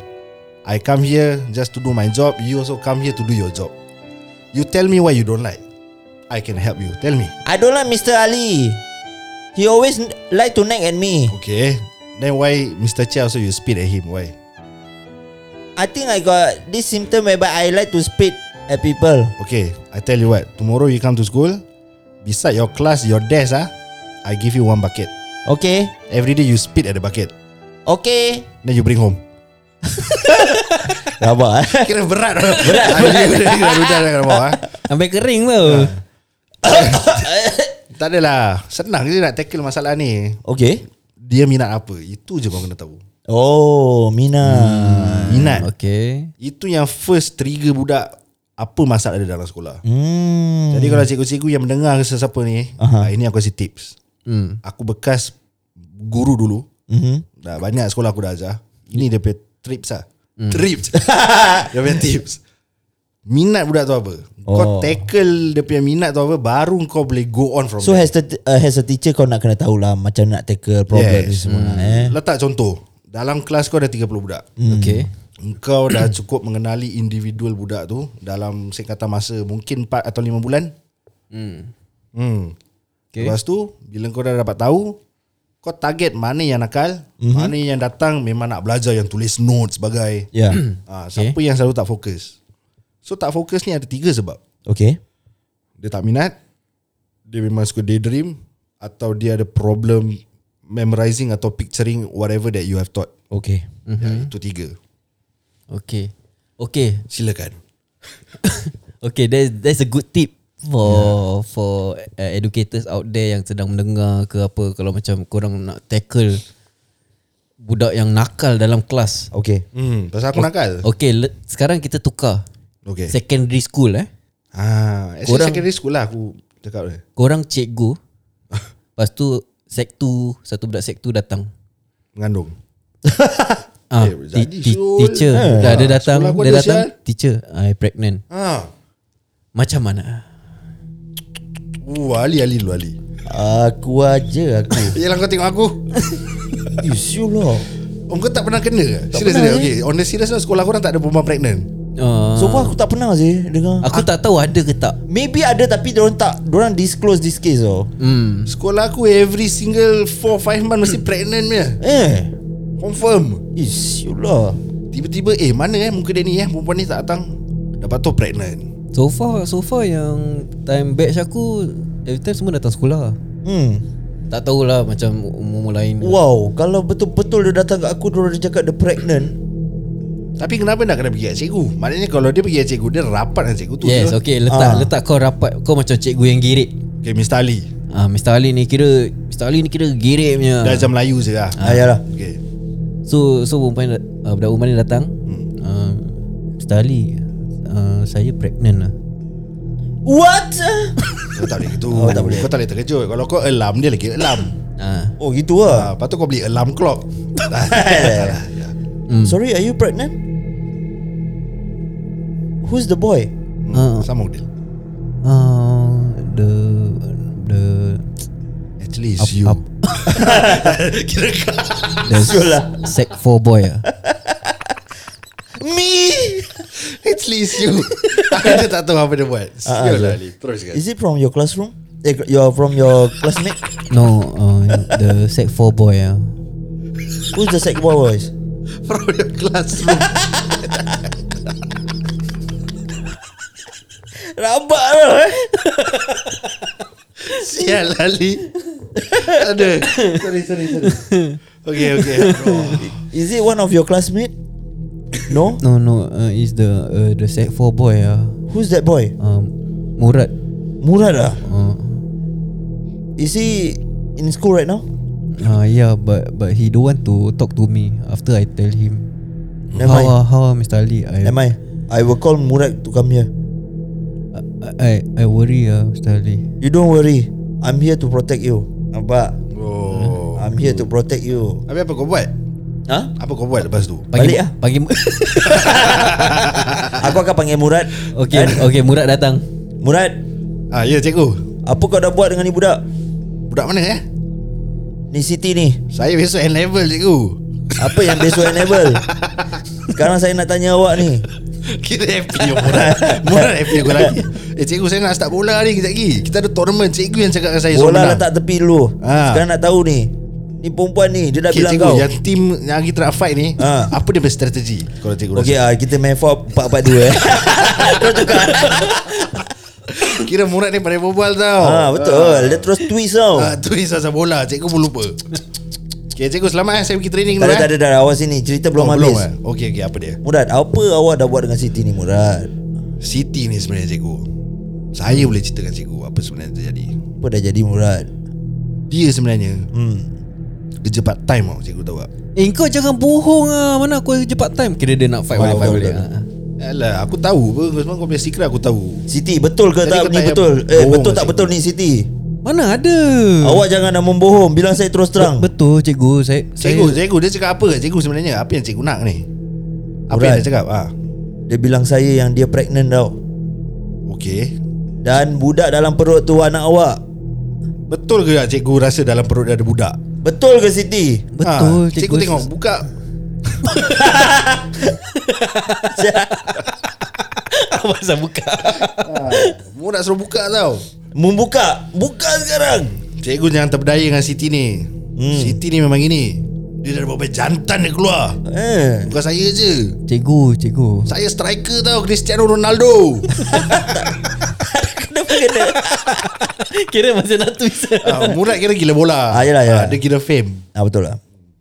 I come here just to do my job You also come here to do your job You tell me why you don't like I can help you Tell me
I don't like Mr. Ali. He always n- like to nag at me.
Okay Then why Mr. Chia also you spit at him Why?
I think I got this symptom whereby I like to spit at people.
Okay I tell you what Tomorrow you come to school Beside your class Your desk ah I give you one bucket
Okay?
Every day you spit at the bucket
Okay.
Then you bring home
Rabak eh.
Kira berat Berat Dah dah bawa ah.
sampai kering
Ya.
tau.
Tak adalah Senang je nak tackle masalah ni
Okay.
dia minat apa itu je kau kena tahu
Oh,
Hmm.
Mina.
minat
Okay.
itu yang first trigger budak apa masalah dia dalam sekolah
Hmm.
jadi kalau cikgu-cikgu yang mendengar sesiapa ni uh ini aku kasi tips
Hmm.
aku bekas guru dulu
Mm-hmm.
dah banyak sekolah aku dah ajar ini dia punya trips lah trips dia punya tips minat budak tu apa
Oh.
kau tackle dia punya minat tu apa baru kau boleh go on from
So
there
has the uh, has a teacher kau nak kena tahulah macam nak tackle problem yes. ni
Yes.
semua mm. eh. Hmm.
letak contoh dalam kelas kau ada 30 budak
Okay.
Engkau dah cukup mengenali individual budak tu dalam singkatan masa mungkin 4 atau 5 bulan.
Hmm.
Hmm.
Okay.
Okay. Lepas tu bila kau dah dapat tahu kau target mana yang nakal, mm-hmm. mana yang datang memang nak belajar yang tulis notes sebagai.
Yeah.
Ha, siapa yang selalu tak fokus. So tak fokus ni ada tiga sebab.
Okay.
Dia tak minat, dia memang suka daydream atau dia ada problem memorizing atau picturing whatever that you have taught.
Okay.
Mm-hmm. Ya, itu tiga.
Okay. Okay.
Silakan.
Okay, that's that's a good tip
Ya.
for yeah. for uh, educators out there yang sedang mendengar ke apa kalau macam korang nak tackle budak yang nakal dalam kelas.
Okay.
Hmm, pasal aku nakal.
Okay, le- sekarang kita tukar.
Okay.
Secondary school eh.
Ah, actually
Korang-
secondary school lah aku cakap dia.
Korang cikgu. Lepas tu sec 2, satu budak sec 2 datang.
Mengandung.
Ah,
Eh,
ti-
jadi
ti-
Syul.
teacher.
Eh,
Dah dia
sekolah
datang,
aku
dia
ada,
datang.
sial.
Teacher, I pregnant.
Ah.
Macam mana?
Uh, Ali Ali lu Ali.
Aku aja aku. lah.
Yalah kau tengok aku.
You sure lah.
eh.
Oh, kau tak pernah kena ke? Serius serius. Okay, on the serious note sekolah korang tak ada perempuan pregnant.
Ah.
So far aku tak pernah sih dengar.
Aku tak tahu ada ke tak
Maybe ada tapi diorang tak Diorang disclose this case tau
Hmm
Sekolah aku every single 4-5 month mesti pregnant punya
Eh
Confirm
Is you lah
Tiba-tiba eh mana eh muka dia ni eh Perempuan ni tak datang Dapat tu pregnant
So far So far yang Time batch aku Every time semua datang sekolah
Hmm
Tak tahulah Macam umur-umur lain
Wow Kalau betul-betul dia datang kat aku Diorang dia cakap dia pregnant
Tapi kenapa nak kena pergi kat cikgu Maknanya kalau dia pergi kat cikgu Dia rapat dengan cikgu tu
Yes
je.
okay Letak
Ah.
letak kau rapat Kau macam cikgu yang girit
Okay Mr. Ali
Ah, Mr. Ali ni kira Mr. Ali ni kira girit punya
Dah macam Melayu je lah
ah. Ayalah
Okay
So so perempuan uh, Budak perempuan ni datang hmm. uh, Mr. Ali uh, Saya pregnant lah
What?
Kau tak boleh gitu oh, tak boleh. Kau tak boleh terkejut Kalau kau alarm Dia lagi alarm
uh,
oh gitu lah
ha, Lepas tu kau beli alarm clock
Hmm.
Sorry are you pregnant? Who's the boy?
Ah.
hmm, Sama dia
uh, The The
Actually it's you
up.
Kira kau
The Sec 4 boy lah
Me?
Actually it's you Aku tak tahu apa dia buat
Ah, ah,
Sial lah Ali Terus kan
Is it from your classroom? Eh, you're from your classmate?
No uh, The sec 4 boy lah
Who's the sec boy boys?
From your classroom
Rabak lah eh
Sial lah, Ali Ada Sorry sorry sorry Okay okay oh.
Is it one of your classmate? No?
No no uh, Is the uh, The sec 4 boy lah
Who's that boy?
um, Murad
Murad lah
uh,
Is he in school right now?
uh, Yeah but But he don't want to Talk to me After I tell him
Never
how,
mind.
are- how are Mr. Ali I,
Am I? I will call Murad to come here.
I, I, I worry uh, Mr. Ali
You don't worry. I'm here to protect you. Abah,
oh.
I'm here to protect you.
Habis apa kau buat?
Ha?
Apa kau buat lepas tu?
Panggil-
Balik ah.
Panggil
Aku akan panggil Murad.
Okay okay Murad datang
Murad,
Ah, ya cikgu
apa kau dah buat dengan ni budak?
Budak mana eh?
Ni Siti ni.
Saya besok N level cikgu
Apa yang besok enable? Sekarang saya nak tanya awak ni.
Kira happy yang murah Murah happy aku lagi Eh cikgu saya nak start bola ni Kejap lagi Kita ada tournament Cikgu yang cakap dengan saya
Bola
suruh
lah
menang.
letak tepi dulu.
lah. Ha.
Sekarang nak tahu ni. Ni perempuan ni, dia dah
Okay,
bilang
cikgu
kau.
Yang tim yang kita nak fight ni
Ha.
Apa dia punya strategi Kalau cikgu
Okey,
rasa
ah, kita main 4 4 2 eh. Kau tukar.
Kira Murad ni pandai berbual tau
Ha, betul. Dia terus twist tau.
ha, Tu is asal bola Cikgu pun lupa Okay cikgu selamat eh Saya pergi training
Tak
dulu
ada, tak
eh
ada, dah awak sini Cerita belum
Oh,
habis
eh? Okay okay apa dia
Murad, apa awak dah buat dengan Siti ni Murad?
Siti ni sebenarnya cikgu Saya boleh ceritakan cikgu Apa sebenarnya terjadi
Apa dah jadi Murad?
Dia sebenarnya
Hmm.
Kerja part time tau Cikgu tahu tak
Eh kau jangan bohong ah Mana aku kerja part time Kira dia nak fight Boleh
Betul,
fight
betul,
boleh
betul.
ah.
Alah aku tahu apa Kau semua kau punya secret aku tahu
Siti betul ke
Jadi
tak ni
kau tak payah
betul? Eh
bohong
betul
lah, Hmm.
tak
cikgu.
betul ni Siti?
Mana ada
Awak jangan dah membohong Bilang saya terus terang
Betul cikgu Saya
Cikgu,
saya,
cikgu dia cakap apa kat cikgu sebenarnya? Apa yang cikgu nak ni? Apa
Murad.
yang dia cakap? Ah.
Dia bilang saya yang dia pregnant tau
Okey.
Dan budak dalam perut tu anak awak
Betul ke tak cikgu rasa dalam perut dia ada budak?
Betul ke Siti?
Betul
Ah, cikgu, cikgu tengok buka.
Apa saya buka
Ah, mu nak suruh buka tau.
Membuka Buka sekarang
Cikgu jangan terpedaya dengan Siti ni. Hmm. Siti ni memang gini. Dia dah bawa jantan dia keluar.
Eh
Bukan saya je.
Cikgu Cikgu
Saya striker tau Cristiano Ronaldo.
Kenapa kena
Kira masih nak twist
ah, Murad kira gila bola.
Ah, yelah, yelah.
Ah, dia gila fame.
Ah betul lah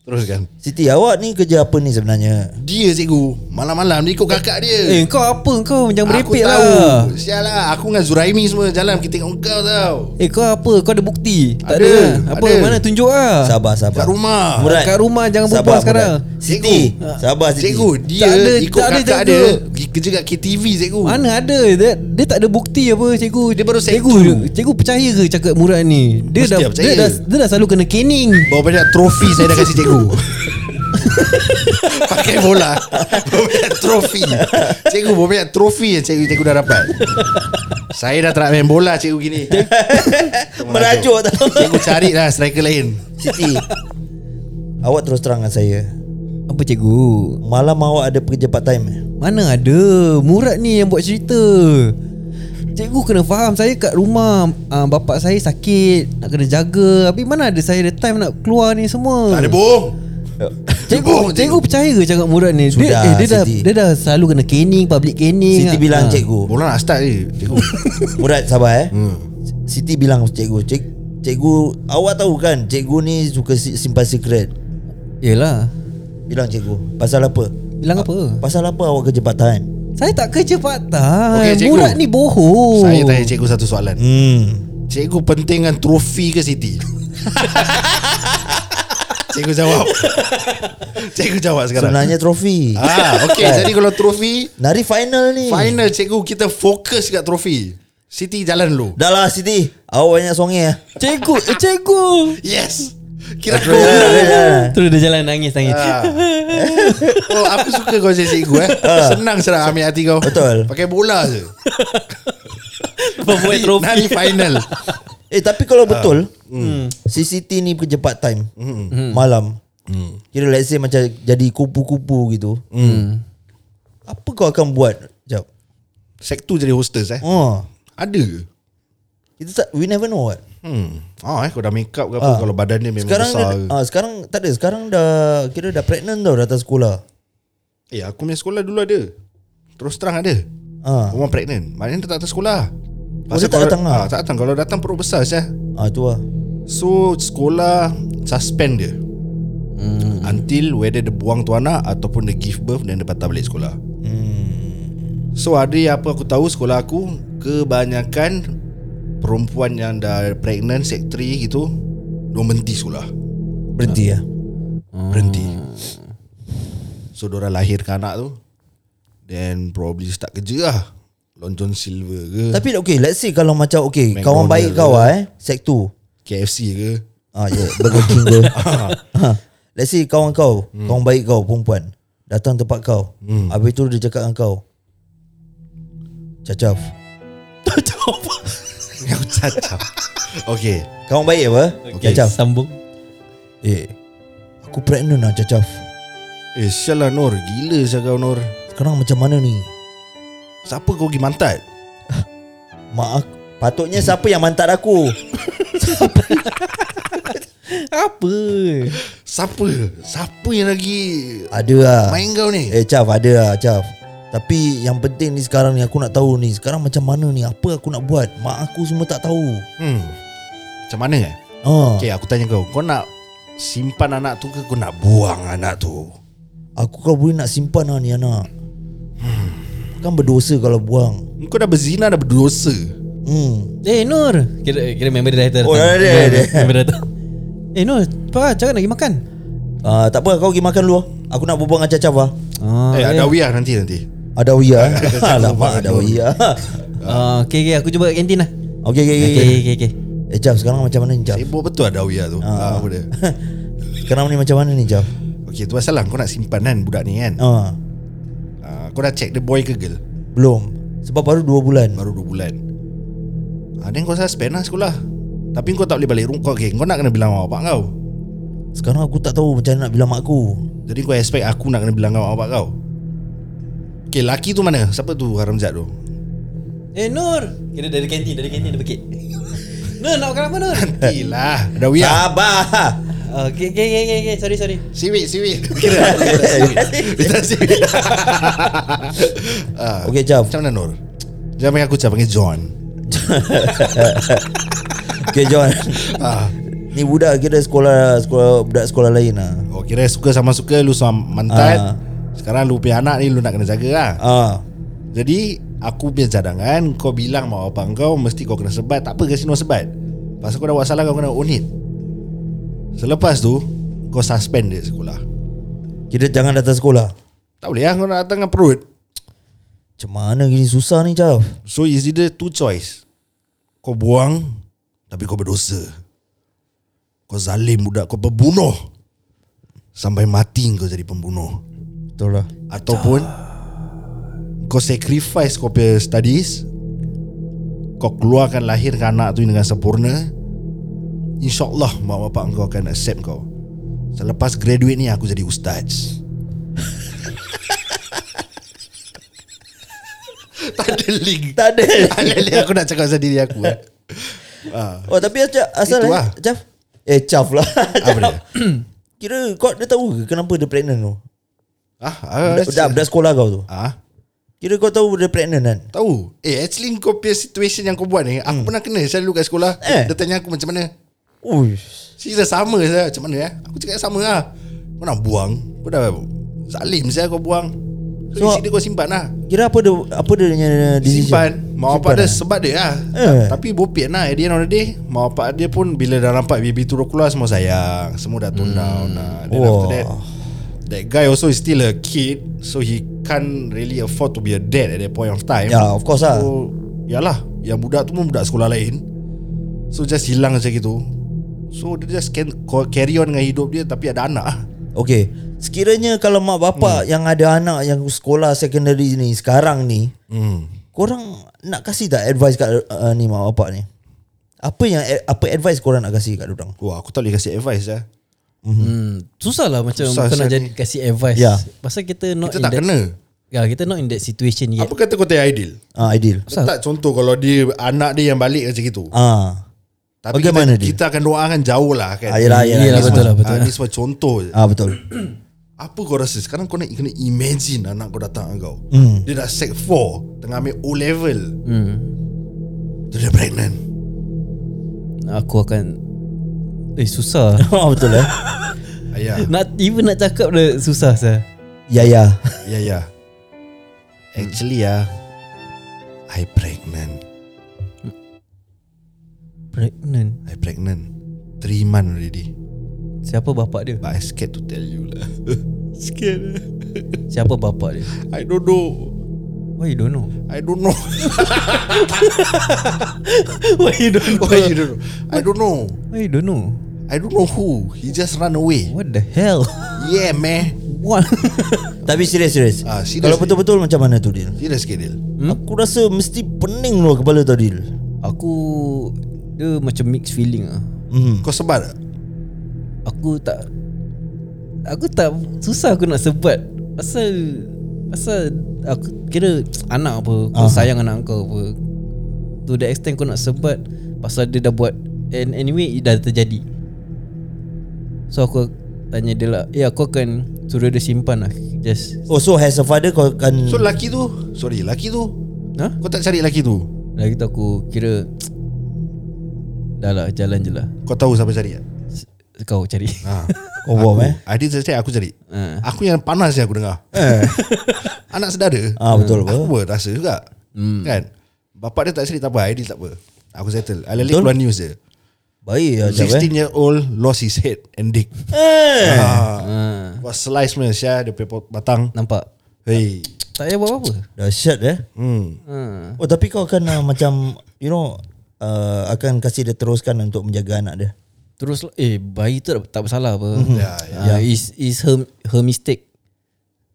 Teruskan.
Siti awak ni kerja apa ni sebenarnya?
Dia cikgu malam-malam dia ikut kakak
Eh
dia.
kau apa kau Jangan
aku
merepek
tahu.
lah
Sial lah. Aku dengan Zuraimi semua jalan kita tengok kau tau.
Eh kau apa Kau ada bukti Tak
Ada,
ada, Apa
ada.
mana tunjuk lah
Sabar sabar
Kat rumah.
Murad.
Kat rumah jangan
Sabar,
berbual
Murad.
sekarang
Siti Sabar Siti
Cikgu dia
Tak ada,
ikut
tak ada,
kakak
tak ada.
dia pergi kerja kat KTV cikgu.
Mana ada dia, dia tak ada bukti apa cikgu
Dia baru sec
Cikgu
two.
Cikgu percaya ke cakap Murad ni Dia
Mesti
dah,
lah percaya.
dia dah Dia dah selalu kena caning
Bawa banyak trofi saya dah kasih cikgu. Pakai bola. Bawa banyak trofi. Cikgu bawa banyak trofi yang cikgu cikgu dah dapat. saya dah tak nak main bola cikgu gini.
Merajuk tau
Cikgu cari lah striker lain.
Siti Awak terus terang dengan saya
Apa cikgu
Malam awak ada pekerja part time eh?
Mana ada Murad ni yang buat cerita Cikgu kena faham Saya kat rumah uh, Bapak saya sakit Nak kena jaga Habis mana ada saya ada time Nak keluar ni semua
Tak ada bohong
Cikgu, cikgu percaya ke cakap Murad ni dia,
Sudah,
eh, dia, dah,
Siti.
dia dah selalu kena caning Public caning
Siti
Ah.
bilang
Ah.
cikgu
Bola nak start je Cikgu
Murad sabar eh
hmm.
Siti bilang cikgu Cik, Cikgu Awak tahu kan Cikgu ni suka si- simpan secret
Yelah
Bilang cikgu Pasal apa
Bilang apa
Pasal apa awak kerja part time
Saya tak kerja part time
Okey, cikgu.
Murad ni bohong
Saya tanya cikgu satu soalan
Oh. Hmm
Cikgu penting dengan trofi ke Siti? cikgu jawab Cikgu jawab sekarang
Sebenarnya trofi
Ah, okay.
Kan?
Jadi kalau trofi
Nari final ni
Final cikgu Kita fokus kat trofi Siti jalan dulu
Dah lah Siti Awak banyak songi ya
Cikgu eh, Cikgu
Yes Kira
Terus jalan, terus jalan.
Terus dia jalan nangis-nangis
Eh. Ah. Oh aku suka kau jadi cikgu eh Senang serang ambil hati
Ah.
kau
Betul.
Pakai bola je
Pembuat
Nanti-
trofi
Nanti final
Eh tapi kalau betul hmm, Si Siti ni kerja part time Malam Kira let's say macam Jadi kupu-kupu gitu Hmm. Apa kau akan buat Sekejap
Sektu jadi hostess eh
oh.
Ada ke?
Kita tak We never know what
Hmm. Ah eh kau dah make up ke apa kalau badan dia memang
Sekarang
besar.
dah, ah, Sekarang tak ada Sekarang dah Kira dah pregnant tau Datang sekolah
Eh aku punya sekolah dulu ada Terus terang ada
Ah,
Orang pregnant Maknanya dia tak datang sekolah
dia tak
kalau-
datang lah.
ah, Tak datang Kalau datang perut besar saya.
ah tu lah
So sekolah Suspend dia hmm. Until whether dia buang tu anak Ataupun dia give birth Dan dia patah balik sekolah hmm.
Hmm.
So ada yang apa aku tahu Sekolah aku Kebanyakan Perempuan yang dah pregnant Sek 3 gitu Diorang berhenti sekolah
Berhenti lah
Berhenti Hmm. So diorang lahirkan anak tu Then probably start kerja lah Long John Silver ke
Tapi okay Let's say kalau macam Okay Kawan
McDonald
baik kau
ke.
lah eh Sek 2
KFC ke
Ah ya yeah, Burger King ke Ah, Let's say kawan kau hmm. Kawan baik kau perempuan Datang tempat kau hmm. Habis tu dia cakap dengan kau Cacaf
Yang cacap Okay
Kawan baik apa? Okay. Cacaf
Sambung
Eh Aku pregnant lah Cacaf
Eh sial lah Nur Gila sial kau Nur
Sekarang macam mana ni?
Siapa kau pergi mantat
Mak aku Patutnya siapa yang mantat aku
Apa
Siapa Siapa yang lagi
Ada lah
Main kau ni
Eh Caf ada lah Caf Tapi yang penting ni sekarang ni Aku nak tahu ni Sekarang macam mana ni Apa aku nak buat Mak aku semua tak tahu
hmm. Macam mana eh
Ah,
Okay aku tanya kau Kau nak Simpan anak tu ke Kau nak buang anak tu
Aku kalau boleh nak simpan lah ni anak Kan berdosa kalau buang
Kau dah berzina Dah berdosa
Hmm.
Eh Nur Kira, kira member dia dah datang
Oh, dah ada,
Member-
ada.
Member dah datang Eh Nur Pak cakap nak pergi makan
Uh, tak apa kau pergi makan dulu. Aku nak berbual dengan Cacaf ah.
ah,
Eh ada wia nanti nanti
Adawiyah. eh? Alamak Adawiyah.
Ah, okay, okay, aku cuba kat kantin lah
Okey okey
Okay,
okey.
okay, okay, okay.
Eh Caf sekarang macam mana ni Caf?
Sibuk betul ada wia tu ha. Apa dia
Sekarang ni macam mana ni Caf?
Okay tu pasal lah Kau nak simpan kan Budak ni kan
Ah,
ha. Kau dah check dia boy ke girl
belum. Sebab baru 2 bulan.
Baru 2 bulan ha, Then kau suspend lah sekolah Tapi kau tak boleh balik rumah kau, okay, kau nak kena bilang mak bapak kau
Sekarang aku tak tahu macam mana nak bilang mak aku.
Jadi kau expect aku nak kena bilang kat mak bapak kau Okay laki tu mana? Siapa tu haramzat tu?
Eh Nur Kira dari kantin Dari kantin dia bekit Nur nak makan apa Nur Ah,
Tilah Ada wia
Sabar.
Okay, okay, okay, okay, okay. Sorry, sorry
Siwi siwi Kira Kita siwi Ah,
Okey Caf.
Macam mana Nur? Jangan panggil aku Cah Panggil John
Okey John.
ah.
Ni budak kira sekolah sekolah budak sekolah lain ah.
Oh kira suka sama suka Lu sama
Ah.
mantan Sekarang lu punya anak ni Lu nak kena jaga lah
Ah.
Jadi Aku punya cadangan Kau bilang mak abang kau Mesti kau kena sebat Tak apa kasi no sebat Pasal kau dah buat salah Kau kena own it Selepas tu Kau suspend dia sekolah
Kira jangan datang sekolah.
Tak boleh lah Kau nak datang dengan perut
Macam mana gini susah ni Caf?
So is either two choice Kau buang Tapi kau berdosa Kau zalim budak Kau pembunuh Sampai mati kau jadi pembunuh
Betul lah.
Ataupun Kau sacrifice kau punya studies Kau keluarkan lahirkan anak tu dengan sempurna InsyaAllah mak bapak kau akan accept kau Selepas graduate ni aku jadi ustaz Tak ada link
Tak ada
Alih-alih aku nak cakap pasal diri aku eh. ah,
Oh tapi Acaf Asal
Itu
eh,
lah.
Acaf Eh Caf lah
Apa dia?
Acaf Kira kau dia tahu ke Kenapa dia pregnant tu
ah, ah,
Budak, budak sekolah kau tu
ah,
Kira kau tahu dia pregnant kan
Tahu Eh actually kau punya situation yang kau buat ni Aku pernah kena Saya dulu kat sekolah
Eh.
Dia tanya aku macam mana
Uish
Sisa sama saya Macam mana eh Aku cakap sama lah Kau nak buang Kau dah Zalim saya kau buang So,
So-
so isi dia kau simpan lah
Kira apa dia Apa dia punya decision
Simpan Mak bapak
Simpan,
dia
eh?
sebab dia lah
Eh.
Ta- Tapi bopit lah At the end of the day Mak bapak dia pun Bila dah nampak baby tu keluar Semua sayang Semua dah tone down lah Then
Hmm. Wah.
after that That guy also is still a kid So he can't really afford to be a dad At that point of time
Ya of course lah
So Yalah Yang budak tu pun budak sekolah lain So just hilang macam gitu So dia just can co- carry on dengan hidup dia Tapi ada anak lah
Okay Sekiranya kalau mak bapak Yang ada anak Yang sekolah secondary ni Sekarang ni
hmm.
Korang nak kasih tak advice kat uh, ni mak bapak ni? Apa yang apa advice korang nak kasih kat orang?
Wah aku tak boleh kasih advice lah
Hmm, susah lah macam susah,
Susah
kau nak
sial
jadi,
ni.
kasih advice.
Ya.
Pasal kita not
Kita
in
tak
that,
kena
Ya, kita not in that situation yet.
Apa kata kau tak ideal
Ah ideal.
Letak contoh kalau dia Anak dia yang balik macam gitu
Ah.
Tapi
Bagaimana
kita,
dia?
kita akan doakan jauh lah kan
Ah, yelah, yelah,
Yelah,
yelah.
betul lah,
Ah,
betul lah.
Ni semua contoh je
Ah betul.
Apa kau rasa Sekarang kau nak kena imagine Anak kau datang dengan kau
Hmm.
Dia dah sec 4 Tengah ambil O level
Hmm.
Dia dah pregnant
Aku akan Eh susah.
Ah betul eh.
Ayah
nak even nak cakap dah susah sah.
Ya ya.
Ya ya Actually ya I pregnant
Pregnant.
I pregnant 3 month already
Siapa bapak dia?
But I scared to tell you lah Scared lah.
Siapa bapak dia?
I don't know
Why you don't know?
I don't know
Why you don't know?
Why you don't know I don't know
Why you don't know?
I don't know who He just run away
What the hell?
Yeah man
What?
Tapi serius serius.
Ah, serious
Kalau
ni.
betul-betul macam mana tu deal?
Serius ke Dil
Hmm?
Aku rasa mesti pening lu kepala tu deal.
aku dia macam mixed feeling ah.
Hmm.
Kau sebar tak?
Aku tak Aku tak Susah aku nak sebat Pasal Pasal Aku kira Anak apa Kau
Aha.
sayang anak kau apa To the extent kau nak sebat Pasal dia dah buat And anyway It dah terjadi So aku Tanya dia lah Eh aku akan Suruh dia simpan lah Just
Oh so as a father kau akan
So lelaki tu Sorry lelaki tu
Ha?
Kau tak cari lelaki tu
Lagi tu aku Kira Dah lah jalan je lah
Kau tahu siapa cari tak?
S- Kau cari
Ha.
Oh, Eh. wow, eh.
Aku, Adil cari aku cari
Ha.
Aku yang panas yang aku dengar Anak saudara
Ah betul
Aku
apa?
pun rasa juga hmm. Kan Bapak dia tak selit tak apa Ideal tak apa Aku settle Alih-alih keluar news dia
Baik ya Acaf eh.
16 year old Lost his head And dick
Eh.
ah,
ha.
Buat slice punya Syah Dia punya pot- batang
Nampak
Hei
Tak payah buat apa-apa
Dahsyat eh.
hmm.
ha.
Oh tapi kau akan uh, macam you know uh, akan kasih dia teruskan untuk menjaga anak dia.
Terus Eh bayi tu tak bersalah apa
Ya, ya.
yeah. uh, is is her her mistake.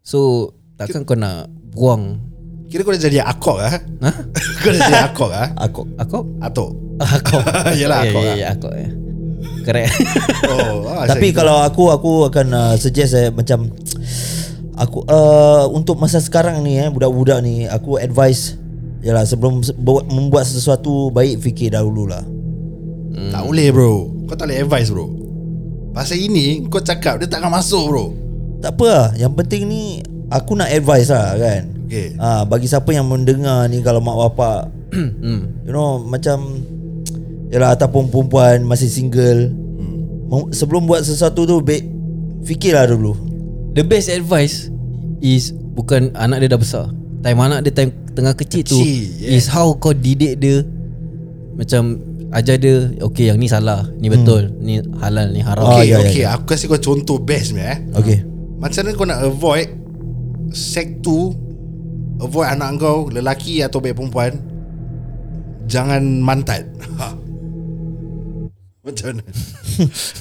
So takkan kau nak buang
Kira kau dah jadi akok ah.
ha?
kau dah jadi akok ah.
Aku
Aku?
Atok
Aku.
Yalah,
Ya,
aku
ya,
lah.
ya, aku ya. Correct.
Oh, ah,
Tapi
saya-
kalau aku aku akan uh, suggest eh, macam aku uh, untuk masa sekarang ni eh budak-budak ni aku advise Yalah sebelum se- buat- membuat sesuatu baik fikir dahulu lah.
Tak boleh bro Kau tak boleh advice bro Pasal ini Kau cakap Dia takkan masuk
Oh,
bro
Tak apa lah. Yang penting ni aku nak advice lah kan.
Okay
Ah bagi siapa yang mendengar ni kalau mak bapak you know macam yalah ataupun perempuan masih single mau- sebelum buat sesuatu tu baik fikirlah dulu.
The best advice is bukan anak dia dah besar. Time anak dia time tengah kecil, tu
Kecil, yes.
is how kau didik dia macam ajar dia okay yang ni salah, ni betul, ni halal, ni haram.
Ah,
Hmm. Okay,
ya, ya,
okay. Aku kasih kau contoh best ni eh.
Okay.
Macam mana kau nak avoid Sek tu Avoid anak kau Lelaki atau baik perempuan Jangan mantat ha. Macam mana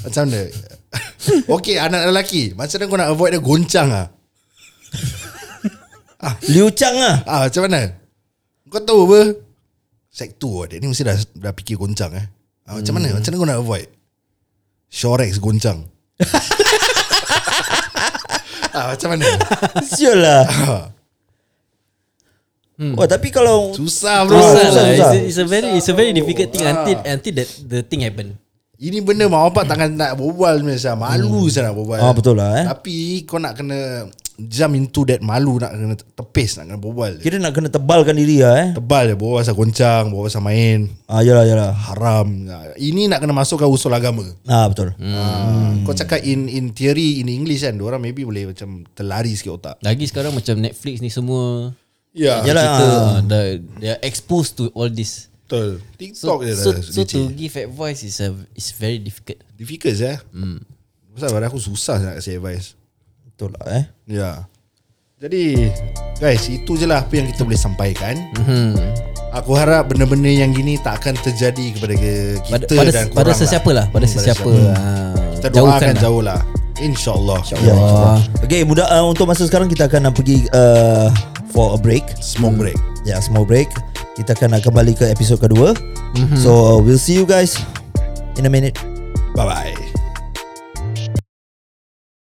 Macam mana Okay anak lelaki Macam mana kau nak avoid dia goncang ah?
Liu Chang ah.
ah Macam mana Kau tahu apa Sek tu Dia ni mesti dah, dah fikir goncang eh ah, Macam mana Macam mana kau nak avoid Shorex goncang ah, Macam mana
Sial lah Oh tapi kalau
Susah bro
Susah
susah,
lah. It's,
susah.
a, it's a very it's a very difficult
Ah.
thing until until that the thing happen.
Ini benda mak bapak tak akan nak berbual sebenarnya Syah. Malu hmm. saya nak berbual
Ah, betul lah, eh.
Tapi kau nak kena Jump into that malu Nak kena tepis Nak kena berbual je.
kira nak kena tebalkan diri lah eh.
Tebal je Berbual pasal goncang Berbual pasal main
Ah yalah yalah.
Haram Ini nak kena masukkan usul agama
Ah betul. Hmm.
hmm. Kau cakap in in theory In English kan Diorang maybe boleh macam Terlari sikit otak
Lagi sekarang macam Netflix ni semua
Ya
Yalah.
kita uh, they, they are exposed to all this.
Betul
So
TikTok je lah,
so,
dah
so to give advice is a is very difficult.
Difficult eh hmm. Pasal pada aku susah nak kasih advice
Betul lah eh.
Ya. Jadi guys, itu je lah apa yang kita boleh sampaikan.
Hmm.
Aku harap benda-benda yang gini tak akan terjadi kepada ke-
Pada
kita
pada,
dan korang Hmm,
pada sesiapa lah, pada sesiapa. ah,
Kita
jauhkan
doakan
lah.
jauh lah. InsyaAllah.
Ya. Okay, mudah uh, untuk masa sekarang kita akan uh, pergi uh, for a break.
Smoke break.
Ya, yeah, small break. Kita akan uh, kembali ke episod kedua. So uh, we'll see you guys in a minute.
Bye-bye.